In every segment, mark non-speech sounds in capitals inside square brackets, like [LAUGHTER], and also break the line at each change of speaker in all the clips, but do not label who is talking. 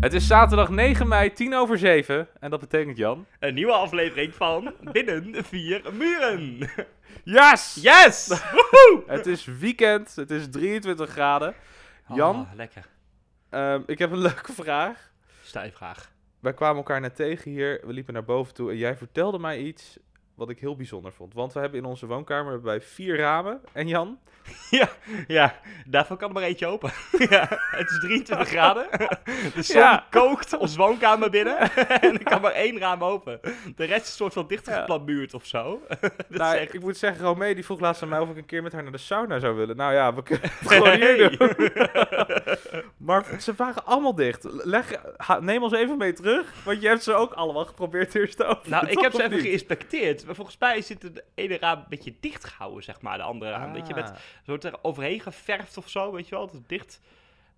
Het is zaterdag 9 mei, 10 over 7. En dat betekent, Jan...
Een nieuwe aflevering van Binnen Vier Muren.
Yes!
[LAUGHS] Yes!
Het is weekend, het is 23 graden. Jan,
Oh, lekker.
ehm, ik heb een [LAUGHS] leuke vraag.
Stijfvraag.
Wij kwamen elkaar net tegen hier, we liepen naar boven toe en jij vertelde mij iets wat ik heel bijzonder vond. Want we hebben in onze woonkamer hebben wij vier ramen. En Jan,
Ja, ja, daarvoor kan er maar eentje open. ja, het is 23 graden. De zon
Ja.
kookt ons woonkamer binnen. [LAUGHS] en er kan maar één raam open. [LAUGHS] De rest is een soort van dichtgeplamuurd of zo. dat
nou,
is echt...
ik moet zeggen, Romee die vroeg laatst aan mij of ik een keer met haar naar de sauna zou willen. Nou ja, we kunnen
[LAUGHS]
het gewoon hier doen. Maar ze waren allemaal dicht. Leg, ha- neem ons even mee terug, want je hebt ze ook allemaal geprobeerd eerst te openen.
Nou, ik
toch,
heb ze
of
even
niet?
geïnspecteerd. Maar volgens mij zit het ene raam een beetje dichtgehouden, zeg maar. De andere raam, weet je, met
Ah.
Ze wordt er overheen geverfd of zo, weet je wel. Het is dicht.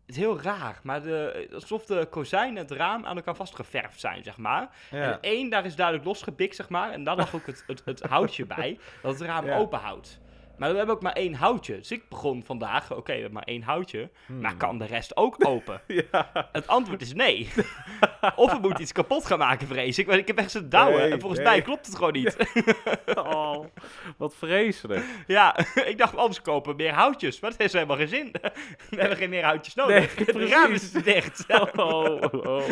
Het is heel raar, maar de, alsof de kozijn en het raam aan elkaar vastgeverfd zijn, zeg maar.
Ja.
En één, daar is duidelijk losgebikt, zeg maar. En daar lag ook het, het, het houtje bij, dat het raam
Ja.
openhoudt. Maar we hebben ook maar één houtje. Dus ik begon vandaag, oké, we hebben maar één houtje.
Hmm.
Maar Nou, kan de rest ook open?
Ja.
Het antwoord is nee. of we moeten iets kapot gaan maken, vrees ik. Want ik heb echt zitten douwen.
Nee,
en volgens
nee.
mij klopt het gewoon niet.
Oh, wat vreselijk.
Ja, [LAUGHS] ik dacht, anders kopen we meer houtjes. Maar dat heeft helemaal geen zin. [LAUGHS] We hebben geen meer houtjes nodig.
Nee,
[LAUGHS] het raam is
[LAUGHS]
dicht.
Oh, oh.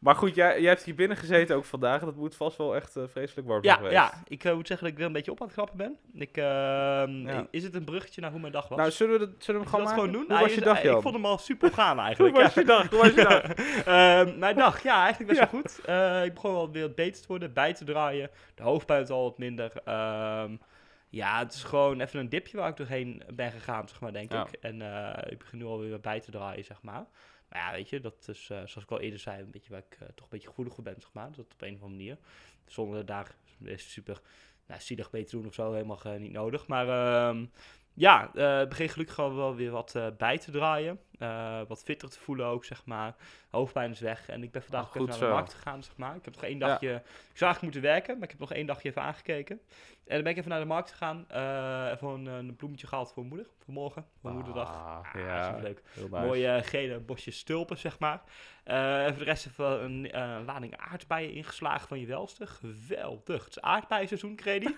Maar goed, jij, jij hebt hier binnen gezeten ook vandaag. Dat moet vast wel echt eh, vreselijk warm zijn
Ja,
geweest.
ja, ik eh, moet zeggen dat ik weer een beetje op aan het grappen ben. Ik, ehm,
Ja.
Is het een bruggetje naar hoe mijn dag was?
Nou, zullen we, dat, zullen we hem
Zullen
gewoon
we dat
maken?
gewoon doen?
Hoe
Nou,
was je dag, Jan?
Ik vond hem al super
[LAUGHS]
gaan
Hoe
eigenlijk.
was
ja.
je dag? Hoe was je dag?
Ehm, mijn dag, ja, eigenlijk best wel goed. Eh, ik begon wel weer wat beter te worden, bij te draaien. De hoofdpijn werd al wat minder. Ehm, ja, het is gewoon even een dipje waar ik doorheen ben gegaan, zeg maar, denk
Ja.
ik. En eh, ik begin nu alweer wat bij te draaien, zeg maar. Maar ja, weet je, dat is, eh, zoals ik al eerder zei, een beetje waar ik eh, toch een beetje gevoelig voor ben, zeg maar. Dat op een of andere manier. Zonder daar super nou, zielig mee te doen of zo, helemaal eh, niet nodig. Maar ehm, ja, eh, het begin gelukkig gewoon wel weer wat eh, bij te draaien. Eh, wat fitter te voelen ook, zeg maar. Hoofdpijn is weg. En ik ben vandaag
Oh,
ook even
goed
naar de
zo.
markt gegaan, zeg maar. Ik heb nog één dagje... Ik zou eigenlijk moeten werken, maar ik heb nog één dagje even aangekeken. En dan ben ik even naar de markt gegaan. eh even een, een bloemetje gehaald voor moeder. Voor morgen, voor moederdag.
Ah,
Ah,
ja,
is leuk.
heel nice.
Mooie eh, gele bosjes stulpen, zeg maar. Eh, en voor de rest even een eh, lading aardbeien ingeslagen van je welste. Geweldig. Het is aardbeienseizoen,
[LAUGHS]
Credi.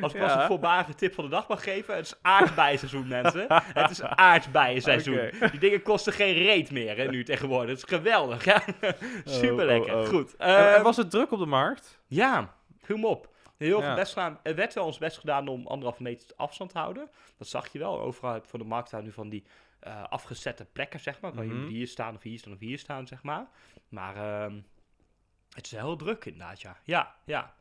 Als ik
Ja.
was een voorbarige tip van de dag mag geven. Het is aardbeienseizoen, mensen. Het
[LAUGHS]
is aardbeienseizoen.
Oké.
Die dingen kosten geen reet meer hè, nu tegenwoordig. Het is geweldig. Ja. [LAUGHS] Super
Oh, oh, oh.
Goed.
En- en
Ehm,
was het druk op de markt?
ja, kom op. Heel veel
Ja.
best gedaan. Er werd wel ons best gedaan om anderhalve meter afstand te houden. Dat zag je wel. Overal heb je van de markt daar nu van die eh, afgezette plekken, zeg maar. Waar je
Mhm.
moet hier staan of hier staan of hier staan, zeg maar. Maar ehm, het is heel druk inderdaad, ja. Ja, ja.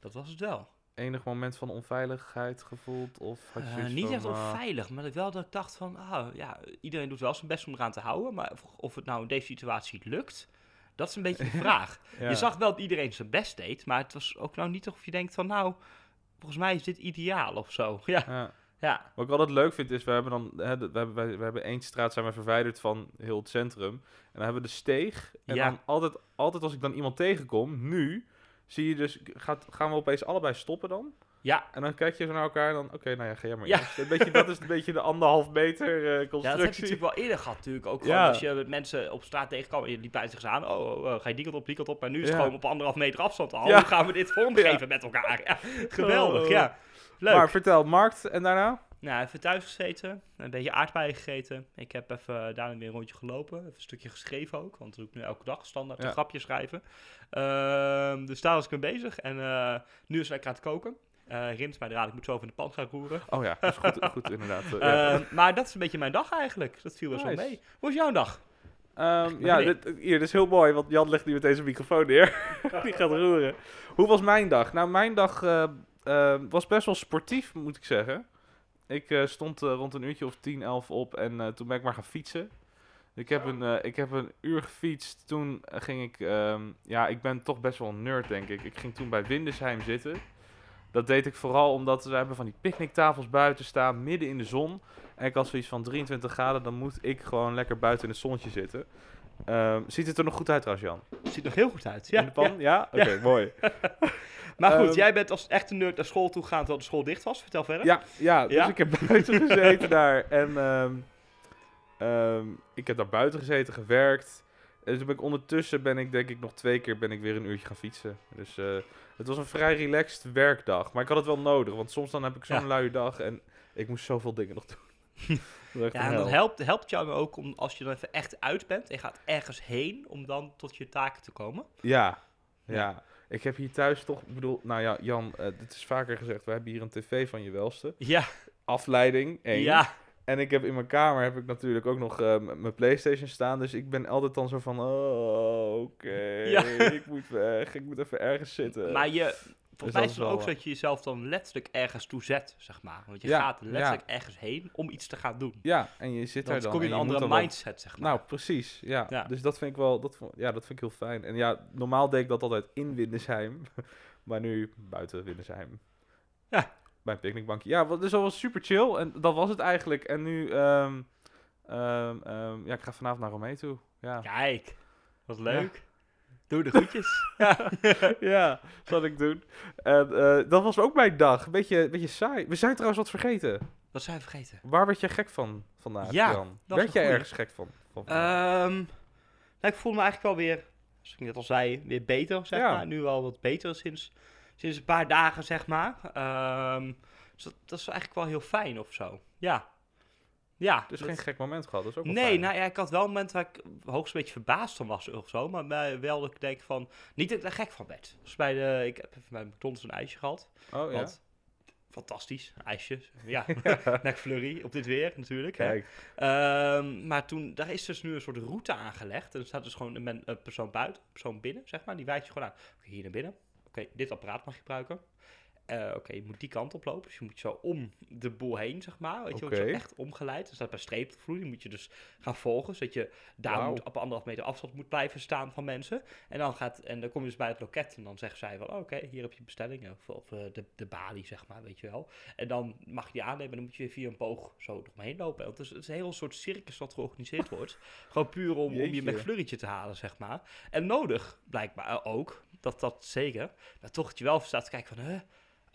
Dat was het wel.
Enig moment van onveiligheid gevoeld? Of had je
Eh,
zoiets
niet
van,
echt
eh,
onveilig, maar wel dat ik dacht van... Ah, ja, iedereen doet wel zijn best om eraan te houden. Maar of, of het nou in deze situatie lukt, dat is een
[LAUGHS]
beetje de vraag.
ja.
Je zag wel dat iedereen zijn best deed, maar het was ook nou niet of je denkt van nou, volgens mij is dit ideaal of zo. [LAUGHS] Ja,
Ja.
ja.
Wat ik altijd leuk vind is, we hebben dan, hè, de- we hebben, wij- we hebben één straat zijn we verwijderd van heel het centrum. En dan hebben we de steeg. En
Ja.
dan altijd, altijd als ik dan iemand tegenkom, nu, zie je dus, gaat, gaan we opeens allebei stoppen dan?
ja.
En dan kijk je zo naar elkaar en dan, oké, nou ja, ga jij maar
Ja.
eerst. Een beetje, dat is een beetje de anderhalf meter eh,
Ja, dat heb je
constructie.
natuurlijk wel eerder gehad natuurlijk. Ook gewoon
Ja.
als je met mensen op straat tegenkwam en je liep bij zich aan. Oh, oh, oh, ga je die kant op, die kant op. En nu is het
Ja.
gewoon op anderhalf meter afstand al.
Ja.
Hoe gaan we dit vormgeven met elkaar? [LAUGHS] Ja, geweldig,
Oh.
ja. Leuk.
Maar vertel, markt en daarna?
Nou, even thuis gezeten, een beetje aardbeien gegeten. Ik heb even daarna weer een rondje gelopen, even een stukje geschreven ook, want dat doe ik nu elke dag, standaard een
Ja.
grapje schrijven. Ehm, dus daar was ik mee bezig en eh, nu is lekker aan het koken. Eh Rimt mij eraan, ik moet zo even in de pan gaan roeren.
Oh ja, dat is goed, goed inderdaad. eh, ja.
Ehm, maar dat is een beetje mijn dag eigenlijk, dat viel best wel
Nice.
mee. Hoe is jouw dag?
Ehm,
maar
ja,
nee.
dit, hier, dit is heel mooi, want Jan legt nu met deze microfoon neer. [LAUGHS] Die gaat roeren. Hoe was mijn dag? Nou, mijn dag eh, eh, was best wel sportief, moet ik zeggen. Ik eh, stond eh, rond een uurtje of 10, 11 op en eh, toen ben ik maar gaan fietsen. Ik heb, een, eh, ik heb een uur gefietst. Toen eh, ging ik. ehm, ja, ik ben toch best wel een nerd, denk ik. Ik ging toen bij Windesheim zitten. Dat deed ik vooral omdat we hebben van die picknicktafels buiten staan, midden in de zon. En ik had zoiets van 23 graden, dan moet ik gewoon lekker buiten in het zonnetje zitten. Ehm, ziet het er nog goed uit trouwens, Jan?
Ziet er nog heel goed uit.
in de pan? Ja? Oké,
[LAUGHS]
mooi.
Maar goed,
Ehm,
jij bent als echte nerd naar school toe gegaan terwijl de school dicht was, vertel verder.
Ja, ja, dus
Ja?
ik heb buiten gezeten daar. En ehm, eh, Ehm, ik heb daar buiten gezeten, gewerkt. En toen ben ik ondertussen, ben ik denk ik nog twee keer, ben ik weer een uurtje gaan fietsen. Dus eh, het was een vrij relaxed werkdag. Maar ik had het wel nodig, want soms dan heb ik zo'n
Ja.
luie dag en ik moest zoveel dingen nog doen. Dat was echt
[LAUGHS] Ja,
een
en dat
hel.
helpt, helpt jou ook om als je dan even echt uit bent en gaat ergens heen om dan tot je taken te komen.
Ja,
Ja.
ja. Ik heb hier thuis toch, ik bedoel, nou ja, Jan, eh dit is vaker gezegd, we hebben hier een tv van je welste.
Ja,
Afleiding, één.
ja.
En ik heb in mijn kamer heb ik natuurlijk ook nog eh, m- mijn PlayStation staan. Dus ik ben altijd dan zo van, oh, oké,
Ja.
[LAUGHS] ik moet weg. Ik moet even ergens zitten.
Maar je,
dat
volgens mij
is
is het
wel,
ook zo
eh,
dat je jezelf dan letterlijk ergens toe zet, zeg maar. Want je
Ja,
gaat letterlijk ergens heen om iets te gaan doen.
Ja, en je zit daar
Dan
dan.
kom je
en
in een andere
moet dan wel-
mindset, zeg maar.
Nou, precies, ja.
Ja.
Dus dat vind ik wel, dat, vo- ja, dat vind ik heel fijn. En ja, normaal deed ik dat altijd in Windesheim. [LAUGHS] maar nu buiten Windesheim.
Ja.
Bij een picknickbankje. Ja, wat- dus dat was super chill. En dat was het eigenlijk. En nu, ehm, ehm, ehm, ja, ik ga vanavond naar Romee toe. Ja.
Kijk, wat leuk. Doe de
[LAUGHS]
groetjes.
ja, zal ik doen. En, eh, dat was ook mijn dag. Beetje, beetje saai. We zijn trouwens wat vergeten.
Wat zijn we vergeten?
Waar werd jij gek van vandaag,
Ja,
Jan?
is
Werd
een
jij
goeie.
ergens gek van? van vandaag?
Ehm, nou, ik voel me eigenlijk wel weer, zoals ik net al zei, weer beter, zeg
Ja.
maar. Nu al wat beter sinds, sinds een paar dagen, zeg maar. Ehm, dus dat, dat is eigenlijk wel heel fijn of zo. Ja. Ja.
dus
dat-
geen gek moment gehad, dat is ook wel
Nee,
fijn.
nou ja, ik had wel een moment waar ik hoogst een beetje verbaasd van was of zo. Maar bij- wel dat ik denk van, niet dat ik daar gek van werd. Dus bij de, ik heb even bij McDonald's een ijsje gehad.
Oh ja,
Want, fantastisch, een ijsje.
[LAUGHS]
Ja, [LAUGHS] nek flurry op dit weer natuurlijk. hè.
kijk.
Ehm, maar toen, daar is dus nu een soort route aangelegd. En er staat dus gewoon een, men- een persoon buiten, een persoon binnen, zeg maar. Die wijst je gewoon aan. Oké, hier naar binnen. Oké, dit apparaat mag je gebruiken. Eh, Oké, je moet die kant oplopen. Dus je moet zo om de boel heen, zeg maar. Weet je, wordt zo
Oké.
echt omgeleid. Er staat bij streepvloer, die moet je dus gaan volgen. Zodat je daar
Wauw.
moet, op anderhalf meter afstand moet blijven staan van mensen. En dan, gaat, en dan kom je dus bij het loket en dan zeggen zij van... oh, Oké, hier heb je bestellingen. Of, of eh, de, de balie, zeg maar, weet je wel. En dan mag je die aannemen en dan moet je weer via een boog zo nog maar heen lopen. Want het is, het is een heel soort circus
[LAUGHS]
wat georganiseerd wordt. Gewoon puur om, om je
Jeetje.
McFlurrytje te halen, zeg maar. En nodig, blijkbaar eh, ook. Dat, dat zeker. Maar toch dat je wel staat te kijken van... Huh?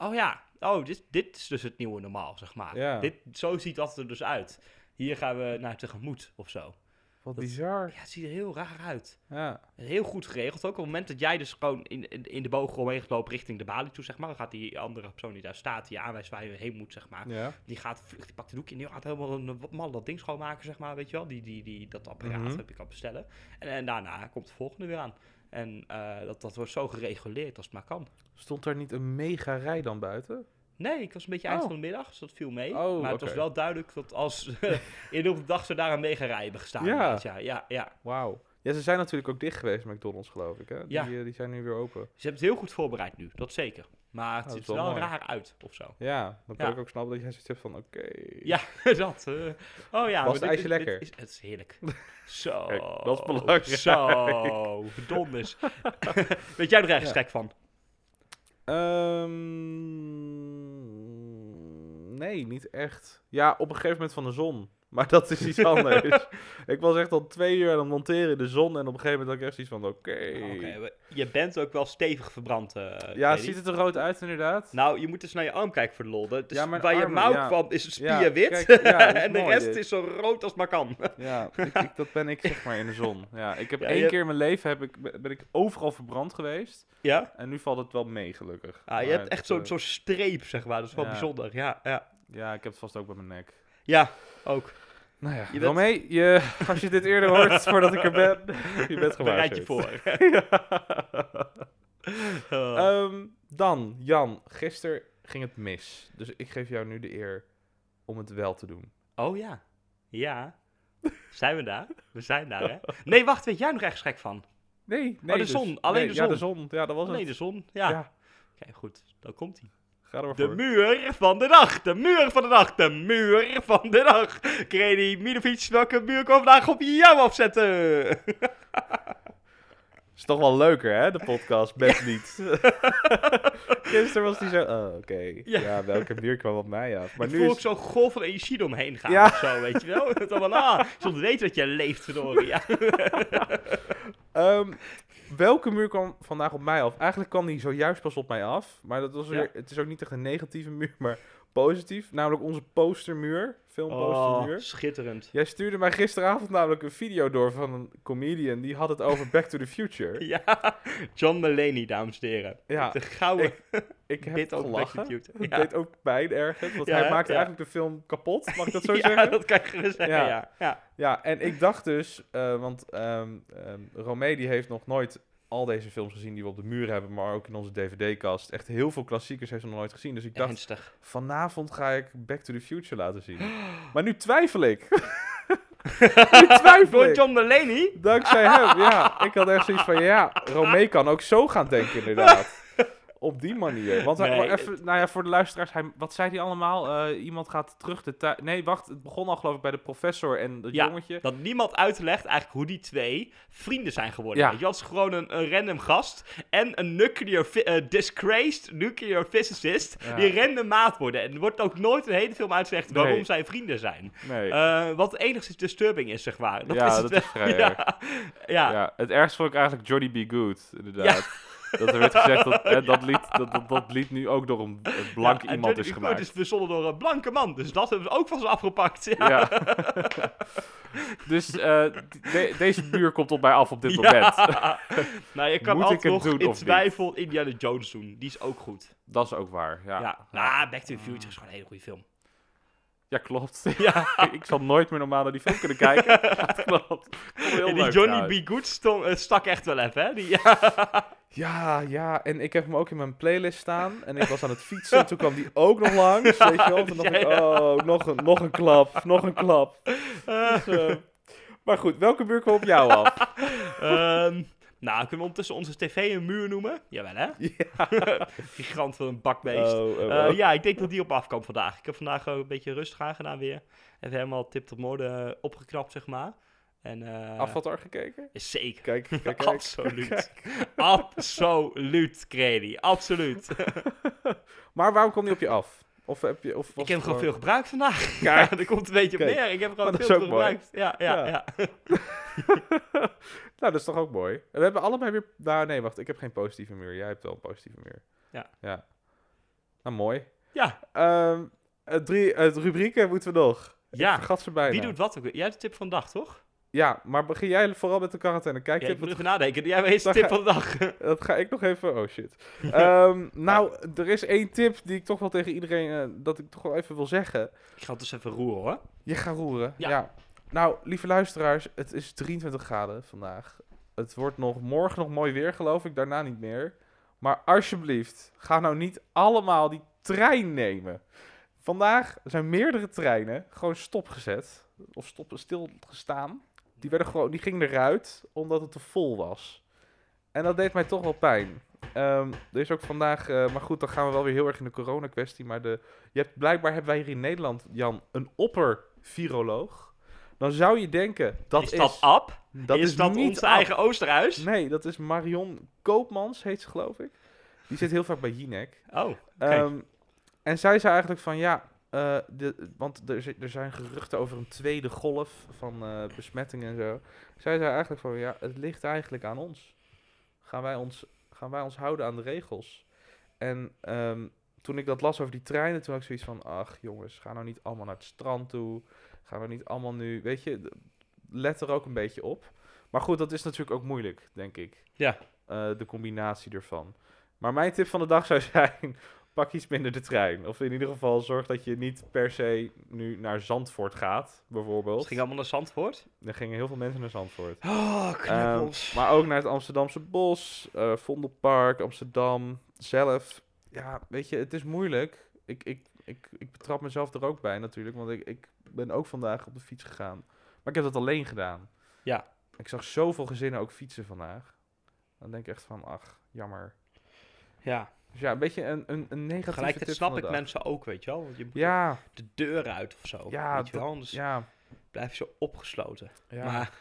Oh ja, oh, dit, dit is dus het nieuwe normaal, zeg maar.
Ja.
Dit, zo ziet dat er dus uit. Hier gaan we naar tegemoet of zo.
Wat
dat-
bizar.
Ja, het ziet er heel raar uit.
Ja.
Heel goed geregeld ook. Op het moment dat jij dus gewoon in, in, in de boog omheen loopt richting de balie toe, zeg maar. Dan gaat die andere persoon die daar staat, die je aanwijst waar je heen moet, zeg maar.
ja.
Die gaat vlucht, die pakt de doekje en die gaat helemaal een wat mal dat ding schoonmaken, zeg maar. Weet je wel, die, die, die, dat apparaat
Mhm.
heb ik al bestellen. En, en daarna komt de volgende weer aan. En eh, dat, dat wordt zo gereguleerd als het maar kan.
Stond daar niet een mega rij dan buiten?
Nee, ik was een beetje eind
Oh.
van de middag, dus dat viel mee.
Oh,
maar het
oké.
was wel duidelijk
[LAUGHS]
dat als in de dag ze daar een mega rij hebben gestaan.
Ja.
inderdaad, ja, ja, ja.
Wauw. Ja, ze zijn natuurlijk ook dicht geweest, McDonald's, geloof ik. Hè? Die,
Ja.
eh, die zijn nu weer open.
Ze hebben het heel goed voorbereid nu, dat zeker. Maar het
Oh, dat
ziet
is
er wel
wel mooi.
raar uit of zo.
Ja, dan kan
Ja.
ik ook snappen dat jij zoiets hebt van, oké.
Ja, [LAUGHS] dat. eh. oh ja.
Was
maar
het ijsje
dit- dit
lekker?
is- het is heerlijk. Zo.
[LAUGHS] Kijk, dat is belangrijk.
Zo. Donders. [LAUGHS] Weet jij er ergens
Ja.
gek van?
Ehm, nee, niet echt. Ja, op een gegeven moment van de zon. [LAUGHS] Maar dat is iets
[LAUGHS]
anders. ik was echt al twee uur aan het monteren in de zon. En op een gegeven moment had ik echt iets van, oké.
Oké, we- je bent ook wel stevig verbrand. eh,
Ja,
Freddy.
ziet het er rood uit inderdaad?
Nou, je moet eens naar je arm kijken voor de lol. Dat is-
Ja, mijn
waar je
armen,
mouw
ja.
kwam is het
Ja,
spierwit.
kijk,
[LAUGHS]
ja, dat is
en de
mooi
rest
dit.
is zo rood als maar kan. [LAUGHS]
Ja, ik, ik- dat ben ik zeg maar in de zon. Ja, ik heb
Ja,
één
je-
keer in mijn leven heb ik, ben ik overal verbrand geweest.
ja?
En nu valt het wel mee, gelukkig.
Ah, je
Maar
hebt
het,
echt zo'n
eh,
zo'n streep, zeg maar. Dat is wel
ja.
bijzonder. Ja, ja.
Ja, ik heb het vast ook bij mijn nek.
ja, ook.
Nou ja,
bent-
Romee, je, [LAUGHS] als je dit eerder hoort voordat ik er ben, je bent gewaarschuwd.
Bereid je voor.
[LAUGHS]
[LAUGHS] Eh,
Ehm, dan, Jan, gisteren ging het mis. Dus ik geef jou nu de eer om het wel te doen.
Oh ja. Ja. Zijn we daar? We zijn daar, hè? Nee, wacht, weet jij nog ergens gek van?
Nee, nee
Oh, de
dus.
zon, alleen
Nee,
de
Ja,
zon.
de zon. Ja, dat was
Nee,
het.
de zon. Ja.
Ja.
Oké, goed. Dan komt hij.
Ga er maar
De
voor.
muur van de dag. De muur van de dag. De muur van de dag. Kredi Milovic, welke muur kwam vandaag op jou afzetten?
Is toch wel leuker, hè, de podcast, best
[LAUGHS]
niet. Gisteren was die zo, oh, oké.
Ja.
Ja. welke muur kwam op mij af? Maar
ik
nu
voel
is...
ook zo'n golf van energie eromheen gaan
Ja.
of zo, weet je wel? [LAUGHS] Dat allemaal, ah, soms weet dat je leeft, verdorie.
[LAUGHS]
Ja.
Ehm, welke muur kwam vandaag op mij af? Eigenlijk kwam die zojuist pas op mij af. Maar dat was
Ja.
weer, het is ook niet echt een negatieve muur, maar positief. Namelijk onze postermuur. Filmpostermuur.
Oh, schitterend.
Jij stuurde mij gisteravond namelijk een video door van een comedian. Die had het over Back to the Future.
[LAUGHS] Ja, John Mulaney, dames en heren.
Ja,
De gouden
ik heb
bit ook Back to
gelachen.
the
[LAUGHS]
Future.
Het
Ja.
deed ook pijn ergens. Want
Ja,
hij
hè?
maakte
Ja.
eigenlijk de film kapot. Mag ik dat zo
[LAUGHS] ja,
zeggen?
dat kan je gerust zeggen,
Ja.
ja. ja.
Ja, en ik dacht dus, eh, want ehm ehm, Romee die heeft nog nooit al deze films gezien die we op de muur hebben, maar ook in onze DVD-kast. Echt heel veel klassiekers heeft ze nog nooit gezien. Dus ik dacht,
Ernstig.
vanavond ga ik Back to the Future laten
[GASPS]
zien. Maar nu twijfel ik. [LAUGHS] nu twijfel
Door
ik.
John Mulaney?
Dankzij hem, ja. Ik had echt zoiets van, ja, Romee kan ook zo gaan denken inderdaad. Op die manier. Want hij,
Nee,
maar even, nou ja, voor de luisteraars, hij, wat zei hij allemaal? Eh, iemand gaat terug de tijd... Nee, wacht, het begon al geloof ik bij de professor en dat
Ja.
jongetje.
Dat niemand uitlegt eigenlijk hoe die twee vrienden zijn geworden.
Ja.
Weet Je had gewoon een, een random gast en een nuclear fi- eh, disgraced nuclear physicist
Ja.
die random maat worden. En er wordt ook nooit een hele film uitgelegd waarom
Nee.
zij vrienden zijn.
Nee.
Eh, wat enigszins disturbing is, zeg maar. Dat
ja,
is het
dat
wel.
is vrij erg.
ja. Ja.
Ja, het ergste vond ik eigenlijk Johnny B. Good, inderdaad. Dat er werd gezegd
[LAUGHS]
dat hè, dat, lied, dat, dat dat lied nu ook door een een blank
Ja, en
iemand
Johnny
is
Good
gemaakt.
is verzonnen door een blanke man, dus dat hebben ze ook van ze afgepakt. [LAUGHS] Ja.
Ja. dus eh, de- deze muur komt op mij af op dit
Ja.
moment. [LAUGHS]
nou, je kan
Moet ik
altijd
het
nog
doen of
in
niet?
twijfel Indiana Jones doen. Die is ook goed.
Dat is ook waar, ja.
Ja.
Ja,
Nou, Back to the Future is gewoon een hele goede film.
klopt. [LAUGHS] Ik- ik zal nooit meer normaal naar die film kunnen
[LAUGHS]
kijken. [LAUGHS] dat klopt. Heel
Ja, die
leuk
Johnny
trouwens.
B. Good stong- eh, stak echt wel even, hè? Die, [LAUGHS] ja.
Ja, ja. En ik heb hem ook in mijn playlist staan. En ik was aan het fietsen. Toen kwam die ook nog langs. Weet je wel? Toen
[LAUGHS]
dacht ik, oh, nog een, nog een klap. Nog een klap. Dus, eh, maar goed, welke muur kwam op jou
[LAUGHS]
af?
Ehm, nou, kunnen we ondertussen onze tv een muur noemen? Jawel, hè? [LAUGHS] Gigant van een bakbeest.
Oh, oh,
Eh,
oh.
ja, ik denk dat die op afkwam vandaag. Ik heb vandaag ook een beetje rustig aangedaan weer. Even helemaal tip tot mode eh, opgeknapt, zeg maar. En, eh,
Afvaltar gekeken?
is Zeker.
Kijk, kijk, kijk.
Absoluut. Absoluut, Credi. Absoluut.
[LAUGHS] Maar waarom kwam die op je af? Of heb je, of was
ik heb hem
het
gewoon veel gebruikt vandaag. Ja, [LAUGHS]
Kijk.
dat komt een beetje op
Kijk.
neer. Ik heb gewoon
Maar dat
veel
is
te
ook
veel
mooi.
gebruikt. Ja, ja,
Ja.
ja.
Nou, dat is toch ook mooi. En we hebben allebei weer... Nou, nee, wacht. Ik heb geen positieve muur. Jij hebt wel een positieve muur.
Ja.
Ja. Nou, mooi.
Ja,
Ehm, het, drie, het rubrieken moeten we nog.
Ja.
Ik vergat ze bijna.
wie doet wat ook weer? Jij hebt de tip van de dag, toch?
Ja, maar begin jij vooral met de quarantaine. Kijk,
Ja,
tip,
ik moet even nadenken. Jij weet de
Dan
tip
ga-
van de dag.
dat ga ik nog even... Oh,
[LAUGHS]
shit. Ehm, nou, er is één tip die ik toch wel tegen iedereen... eh, dat ik toch wel even wil zeggen.
Ik ga het dus even roeren, hoor.
Je gaat roeren. Ja.
Ja.
Nou, lieve luisteraars, het is 23 graden vandaag. Het wordt nog morgen nog mooi weer, geloof ik. Daarna niet meer. Maar alsjeblieft, ga nou niet allemaal die trein nemen. Vandaag zijn meerdere treinen gewoon stopgezet. Of stop, stilgestaan. Die, werden gewoon, die gingen eruit omdat het te vol was. En dat deed mij toch wel pijn. Ehm, er is ook vandaag, eh, maar goed, dan gaan we wel weer heel erg in de corona-kwestie. Maar de, je hebt, blijkbaar hebben wij hier in Nederland, Jan, een opper-viroloog. Dan zou je denken, dat is...
is dat Ab?
dat
is, dat
niet
ons
af.
eigen Oosterhuis?
Nee, dat is Marion Koopmans, heet ze geloof ik. Die zit heel vaak bij Jinek.
Oh, oké.
Ehm, en zij zei eigenlijk van ja, eh, de, want er, zi- er zijn geruchten over een tweede golf van eh besmettingen en zo. Zij zei eigenlijk van ja, het ligt eigenlijk aan ons. Gaan wij ons, gaan wij ons houden aan de regels? En ehm, toen ik dat las over die treinen, toen had ik zoiets van ach jongens, ga nou niet allemaal naar het strand toe. Ga nou niet allemaal nu, weet je, d- let er ook een beetje op. Maar goed, dat is natuurlijk ook moeilijk, denk ik.
Ja.
Eh, de combinatie ervan. Maar mijn tip van de dag zou [LAUGHS] zijn: pak iets minder de trein. Of in ieder geval zorg dat je niet per se nu naar Zandvoort gaat, bijvoorbeeld.
Het ging allemaal naar Zandvoort.
Er gingen heel veel mensen naar Zandvoort.
Oh,
Ehm, maar ook naar het Amsterdamse Bos, eh, Vondelpark, Amsterdam zelf. Ja, weet je, het is moeilijk. Ik, ik, ik, ik betrap mezelf er ook bij natuurlijk, want ik, ik ben ook vandaag op de fiets gegaan. Maar ik heb dat alleen gedaan.
Ja.
Ik zag zoveel gezinnen ook fietsen vandaag. Dan denk ik echt van, ach, jammer.
ja,
Dus ja, een beetje een, een, een negatieve
tegelijkertijd
tip
snap
van de
ik
dag.
mensen ook, weet je wel. Want je moet
Ja,
de deur uit of zo.
Ja,
weet je wel,
dat-
anders
ja,
blijf je zo opgesloten.
ja.
Dus Maar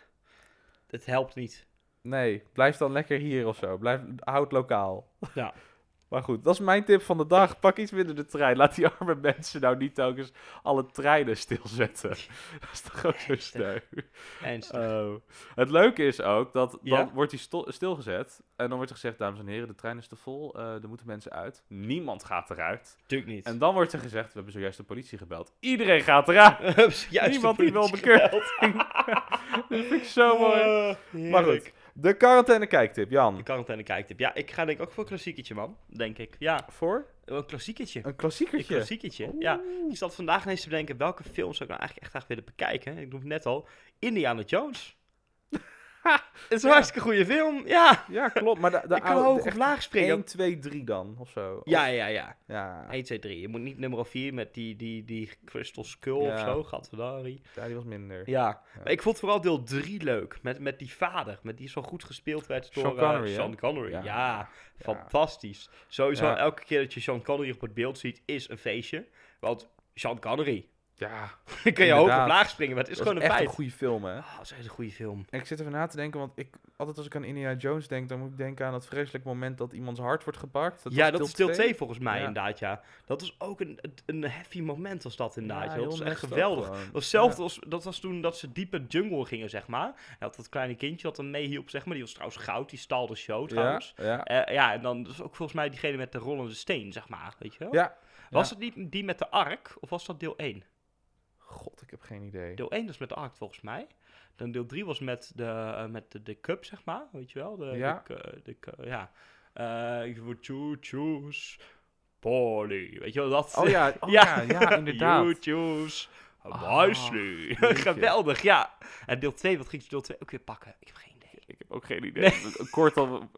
het helpt niet.
Nee, blijf dan lekker hier of zo. Blijf, houd lokaal.
Ja.
[LAUGHS] Maar goed, dat is mijn tip van de dag. Pak iets minder de trein. Laat die arme [LAUGHS] mensen nou niet telkens alle treinen stilzetten. [LAUGHS] Dat is toch ook zo
Ernstig.
sneu.
Ernstig.
Oh. Het leuke is ook dat dan
Ja?
wordt die sto- stilgezet. En dan wordt er gezegd, dames en heren, de trein is te vol. eh, er moeten mensen uit. Niemand gaat eruit.
Natuurlijk [LAUGHS] niet.
En dan wordt er gezegd, we hebben zojuist de politie gebeld. Iedereen gaat eruit.
Juist de
Niemand die wil
politie
bekeurd.
gebeld.
[LAUGHS] Dat vind ik zo mooi.
Eh,
Maar
heerlijk.
goed, de quarantaine kijktip,
De
Jan.
quarantaine kijktip. Ja, ik ga denk ik ook voor een klassieketje, man. Denk ik. Ja,
Voor?
een klassieketje.
Een
Een
klassiekertje.
klassieketje, ja. Ik zat vandaag ineens te bedenken, welke film zou ik nou eigenlijk echt graag willen bekijken? Ik noem het net al, Indiana Jones. Het is een
Ja.
hartstikke goede film, ja.
Ja, klopt. Maar de, de
[LAUGHS] ik kan
oude,
hoog
de
of
echt
laag springen.
1, 2, 3 dan, of zo.
Ja, ja, ja.
Ja,
1, 2, 3. Je moet niet nummer 4 met die, die, die Crystal Skull
Ja.
of zo, Gadverdari.
ja, die was minder.
Ja. Maar ik vond vooral deel 3 leuk, met, met die vader, met die zo goed gespeeld werd door
Sean
eh,
Connery, hè?
Sean Connery.
Ja.
Ja. fantastisch. Sowieso
Ja.
elke keer dat je Sean Connery op het beeld ziet, is een feestje. Want Sean Connery,
Ja,
Dan [LAUGHS] kun je hoog of
Inderdaad.
laag springen, maar het is
dat
gewoon een
echt
feit.
een goede film, hè.
Ah, dat is echt een goede film.
En ik zit even na te denken, want ik, altijd als ik aan Indiana Jones denk, dan moet ik denken aan dat vreselijk moment dat iemands hart wordt gepakt.
ja,
was
dat is deel 2 volgens mij
Ja.
inderdaad, ja. Dat was ook een, een heavy moment was dat inderdaad.
Ja,
joh.
heel
dat was echt
messed up
geweldig.
gewoon.
Dat was Hetzelfde
Ja.
als, dat was toen dat ze diep in de jungle gingen, zeg maar. En dat dat kleine kindje dat hem meehielp, zeg maar. Die was trouwens goud, die stal de show
Ja,
trouwens.
ja.
Eh, ja, en dan dus ook volgens mij diegene met de rollende steen, zeg maar. Weet je wel?
Ja.
Was het niet die met de ark, of was dat deel 1?
God, ik heb geen idee.
Deel 1 was met de ark volgens mij. Dan deel 3 was met de, eh, met de, de cup, zeg maar. Weet je wel? De,
Ja.
De, cu- de cu- ja. Eh, Ik word you choose Polly. Weet je wel, dat... [LAUGHS]
Oh ja, oh, ja. ja,
You
inderdaad.
choose
Ah,
wisely. [LAUGHS]
jeetje.
Geweldig, ja. En deel 2, wat ging ze deel 2 ook weer pakken? Ik heb geen idee.
Ik heb ook geen idee. Kort al,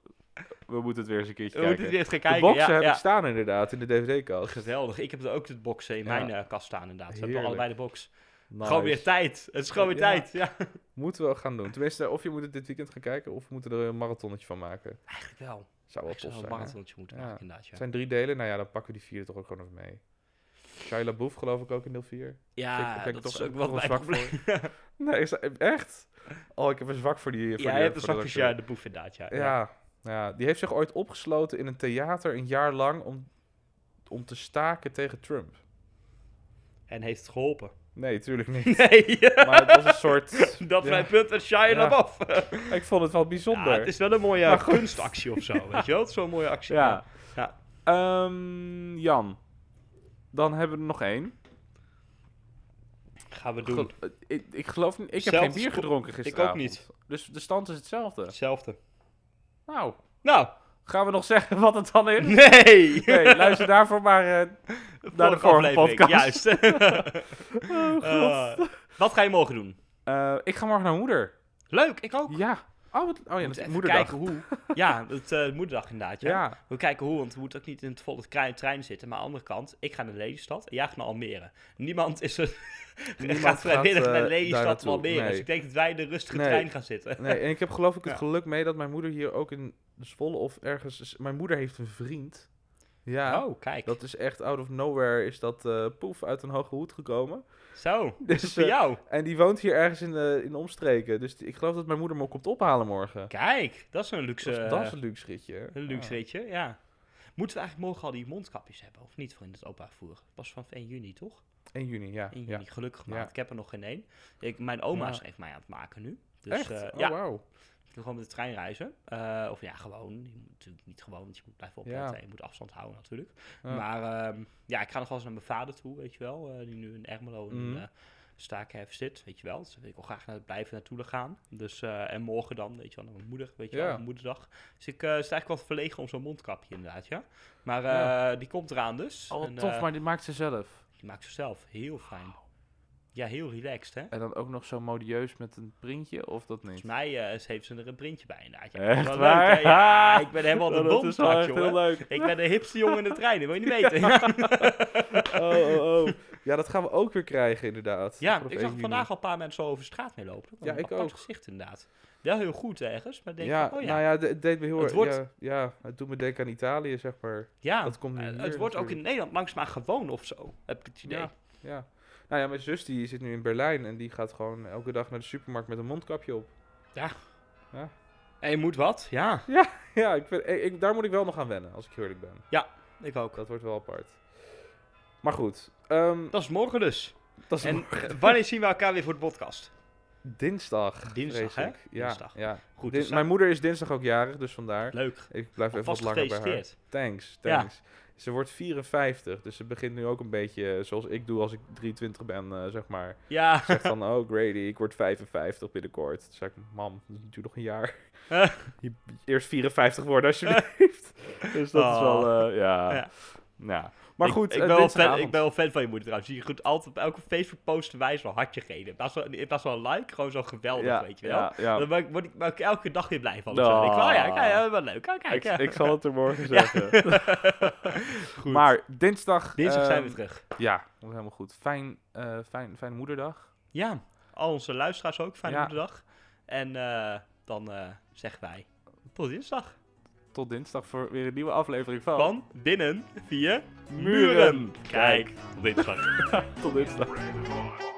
we moeten het weer eens een keertje
We moeten
kijken.
Oh, weer eens gaan
De
kijken.
boxen
ja,
heb
ja.
ik staan inderdaad in de DVD-kast.
Geweldig. Ik heb er ook het boxen in
Ja.
mijn eh, kast staan, inderdaad. Ze hebben
Heerlijk.
allebei de box.
Nice.
Gewoon weer tijd. Het is gewoon weer
Ja.
tijd. Ja,
Moeten we ook gaan doen. Tenminste, of je moet het dit weekend gaan kijken, of we moeten er een marathonnetje van maken.
eigenlijk wel.
Zou wel
Ik zou
tof
een
zijn. hè?
marathonnetje moeten
Ja.
maken, inderdaad. Ja.
Het zijn drie delen, nou ja, dan pakken we die vier toch ook gewoon even mee. Shia LaBeouf geloof ik ook in deel 4.
Ja,
Zeker, ben ik
dat
toch-
is ook
toch
wel
wel
mijn
zwak
probleem.
Nee, is dat- echt? Oh, ik heb een zwak voor die... Voor
Ja, je
die,
hebt een
voor
zwak
dat
ja,
acteur.
de boef inderdaad, ja.
Ja, ja, die heeft zich ooit opgesloten in een theater een jaar lang om, om te staken tegen Trump.
En heeft het
[LAUGHS]
geholpen.
Nee, tuurlijk
[LAUGHS]
niet.
Nee,
Maar het was een soort...
[LAUGHS] dat
ja,
mijn punt en Shia
Ja.
LaBeouf.
Ik vond het wel
Ja,
bijzonder.
het is wel een mooie
Maar
eh,
goed.
kunstactie of zo, weet je wel? Het is wel een mooie actie.
Ja.
Ja.
Ehm, Jan, dan hebben we er nog één.
Gaan we doen.
Gel- eh, ik, ik geloof niet... Ik heb
Zelfde
geen bier
sco-
gedronken
ook
gisteravond.
niet.
Dus de stand is hetzelfde.
Hetzelfde.
Nou,
Nou, [LAUGHS]
gaan we nog [LAUGHS] zeggen wat het dan is?
nee!
Nee, luister daarvoor maar eh, naar de vorige
aflevering,
podcast. Oh,
Juist. [LAUGHS] Eh, wat ga je morgen doen?
Eh, ik ga morgen naar moeder.
Leuk, ik ook.
Ja. Oh, wat, oh ja,
Moet
dat is
even
moederdag.
kijken hoe. Ja, het eh, moederdag inderdaad. Ja. [LAUGHS]
Ja.
We kijken hoe, want we moeten ook niet in het volle tre- trein zitten. Maar aan de andere kant, ik ga naar Lelystad en jij gaat naar Almere. Niemand is er.
Niemand
gaat vrijwillig
gaat, eh,
naar
daar
Lelystad of
naartoe.
Almere.
Nee.
Dus ik denk dat wij in de rustige
Nee.
trein gaan zitten.
Nee, en ik heb geloof ik het
Ja.
geluk mee dat mijn moeder hier ook in Zwolle of ergens... is- Mijn moeder heeft een vriend. Ja.
Oh, kijk.
Dat is echt out of nowhere is dat eh, poef uit een hoge hoed gekomen. [LAUGHS]
Zo,
Dus,
voor
eh,
jou.
en die woont hier ergens in de, in de omstreken. Dus die- ik geloof dat mijn moeder me komt ophalen morgen.
Kijk, dat is een
Dat
luxe, eh,
is, dat is Ah. een luxe ritje.
een luxe
Ja.
ritje, ja. Moeten we eigenlijk morgen al die mondkapjes hebben, of niet, voor in het openbaar Pas vanaf 1 juni, toch?
1 juni, ja.
1
ja.
juni, gelukkig
Ja.
maar. Ik heb er nog geen één. Ik, mijn oma
Ja.
is er even mij aan het maken nu. Dus,
Echt?
eh,
oh,
ja,
wauw.
Ik wil gewoon met de trein reizen. Eh, of ja, gewoon. Je moet natuurlijk niet gewoon, want je moet blijven opletten.
Ja.
en Je moet afstand houden natuurlijk.
Ja.
Maar ehm, ja, ik ga nog wel eens naar mijn vader toe, weet je wel. eh, die nu in Ermelo in
Mhm.
een, eh, staakhef zit, weet je wel. Dus ik wil graag naar, blijven naartoe gaan. Dus, eh, en morgen dan, weet je wel, naar mijn moeder, weet je
Ja.
wel, mijn moederdag. Dus ik eh sta eigenlijk wel verlegen om zo'n mondkapje inderdaad, ja. Maar eh,
Ja.
die komt eraan dus.
Oh,
En,
tof,
eh,
maar dit maakt ze zelf.
Die maakt ze zelf heel fijn. Ja, heel relaxed, hè.
En dan ook nog zo modieus met een printje, of dat niet?
Volgens mij eh, ze heeft ze er een printje bij inderdaad. Ja,
Echt
wel
waar?
Leuk, hè? ja,
[LAUGHS]
ik ben helemaal de
dat
bom
is wel
straks,
echt heel
jongen.
leuk.
Ik ben de hipste jongen in de trein, dat wil
[LAUGHS]
je niet weten. Ja,
Oh, oh, [LAUGHS] oh. Ja, dat gaan we ook weer krijgen, inderdaad. Vanaf
ik
1
zag
juni.
vandaag al een paar mensen zo over de straat mee lopen.
Ja,
Ja,
ik
ik apart
ook.
gezicht inderdaad. Wel heel goed ergens, maar denk
ja,
van, oh ja,
nou ja, de- het deed me heel
Het
erg.
wordt-
Ja, ja, het doet me denken aan Italië, zeg maar.
ja.
dat komt nu
eh, het
hier
wordt ook in
natuurlijk.
Nederland langzaam gewoon of zo, heb ik het idee.
Ja. Ja. Nou ja, mijn zus die zit nu in Berlijn en die gaat gewoon elke dag naar de supermarkt met een mondkapje op.
Ja.
Ja.
En je moet wat? Ja.
[LAUGHS] Ja, ik vind, ik, ik- daar moet ik wel nog aan wennen, als ik eerlijk ben.
Ik ook.
Dat wordt wel apart. Maar goed, ehm,
Dat is morgen dus.
dat is
En wanneer zien we elkaar weer voor de podcast?
dinsdag.
Dinsdag, hè?
vreselijk. Ja,
Dinsdag.
ja.
Goed,
Din-
dus
mijn moeder is dinsdag ook jarig, dus vandaar.
leuk.
Ik blijf even wat
Vast
langer bij haar.
gefeliciteerd.
Thanks,
Ja.
thanks. Ze wordt 54, dus ze begint nu ook een beetje eh, zoals ik doe als ik 23 ben, eh, zeg maar.
Ja.
[LAUGHS] Zegt dan, oh Grady, ik word 55 binnenkort. Toen zei ik, mam, dat duurt nog een
[LAUGHS]
jaar.
Eh.
Je- Eerst 54 worden
[LAUGHS]
alsjeblieft. dus dat is wel, eh, ja.
Oh. Ja.
Nou, maar
Ik-
goed,
ik,
eh,
ben wel fan,
dinsdagavond.
ik ben wel fan van je moeder trouwens. Je kunt altijd op elke Facebook post wijs wel hartje geven. In plaats van, in plaats van een like, gewoon zo geweldig,
ja,
weet je wel.
Ja, ja.
Daar word ik, word ik, word ik elke dag weer blij van.
Nou.
Ik denk, oh ja, kijk, ja, wel leuk. Ah, kijk,
Ik,
ja.
ik zal het er morgen zeggen.
[LAUGHS] Goed.
Maar dinsdag...
Dinsdag zijn we
ehm,
terug.
Ja, dat is helemaal goed. Fijn, eh, fijn, fijn moederdag.
Ja, al onze luisteraars ook. Fijne
Ja.
moederdag. En eh, dan eh, zeggen wij tot dinsdag.
Tot dinsdag voor weer een nieuwe aflevering van...
Van binnen via
Oh. Muren.
Kijk, tot dinsdag.
Tot dinsdag.
Red Horn.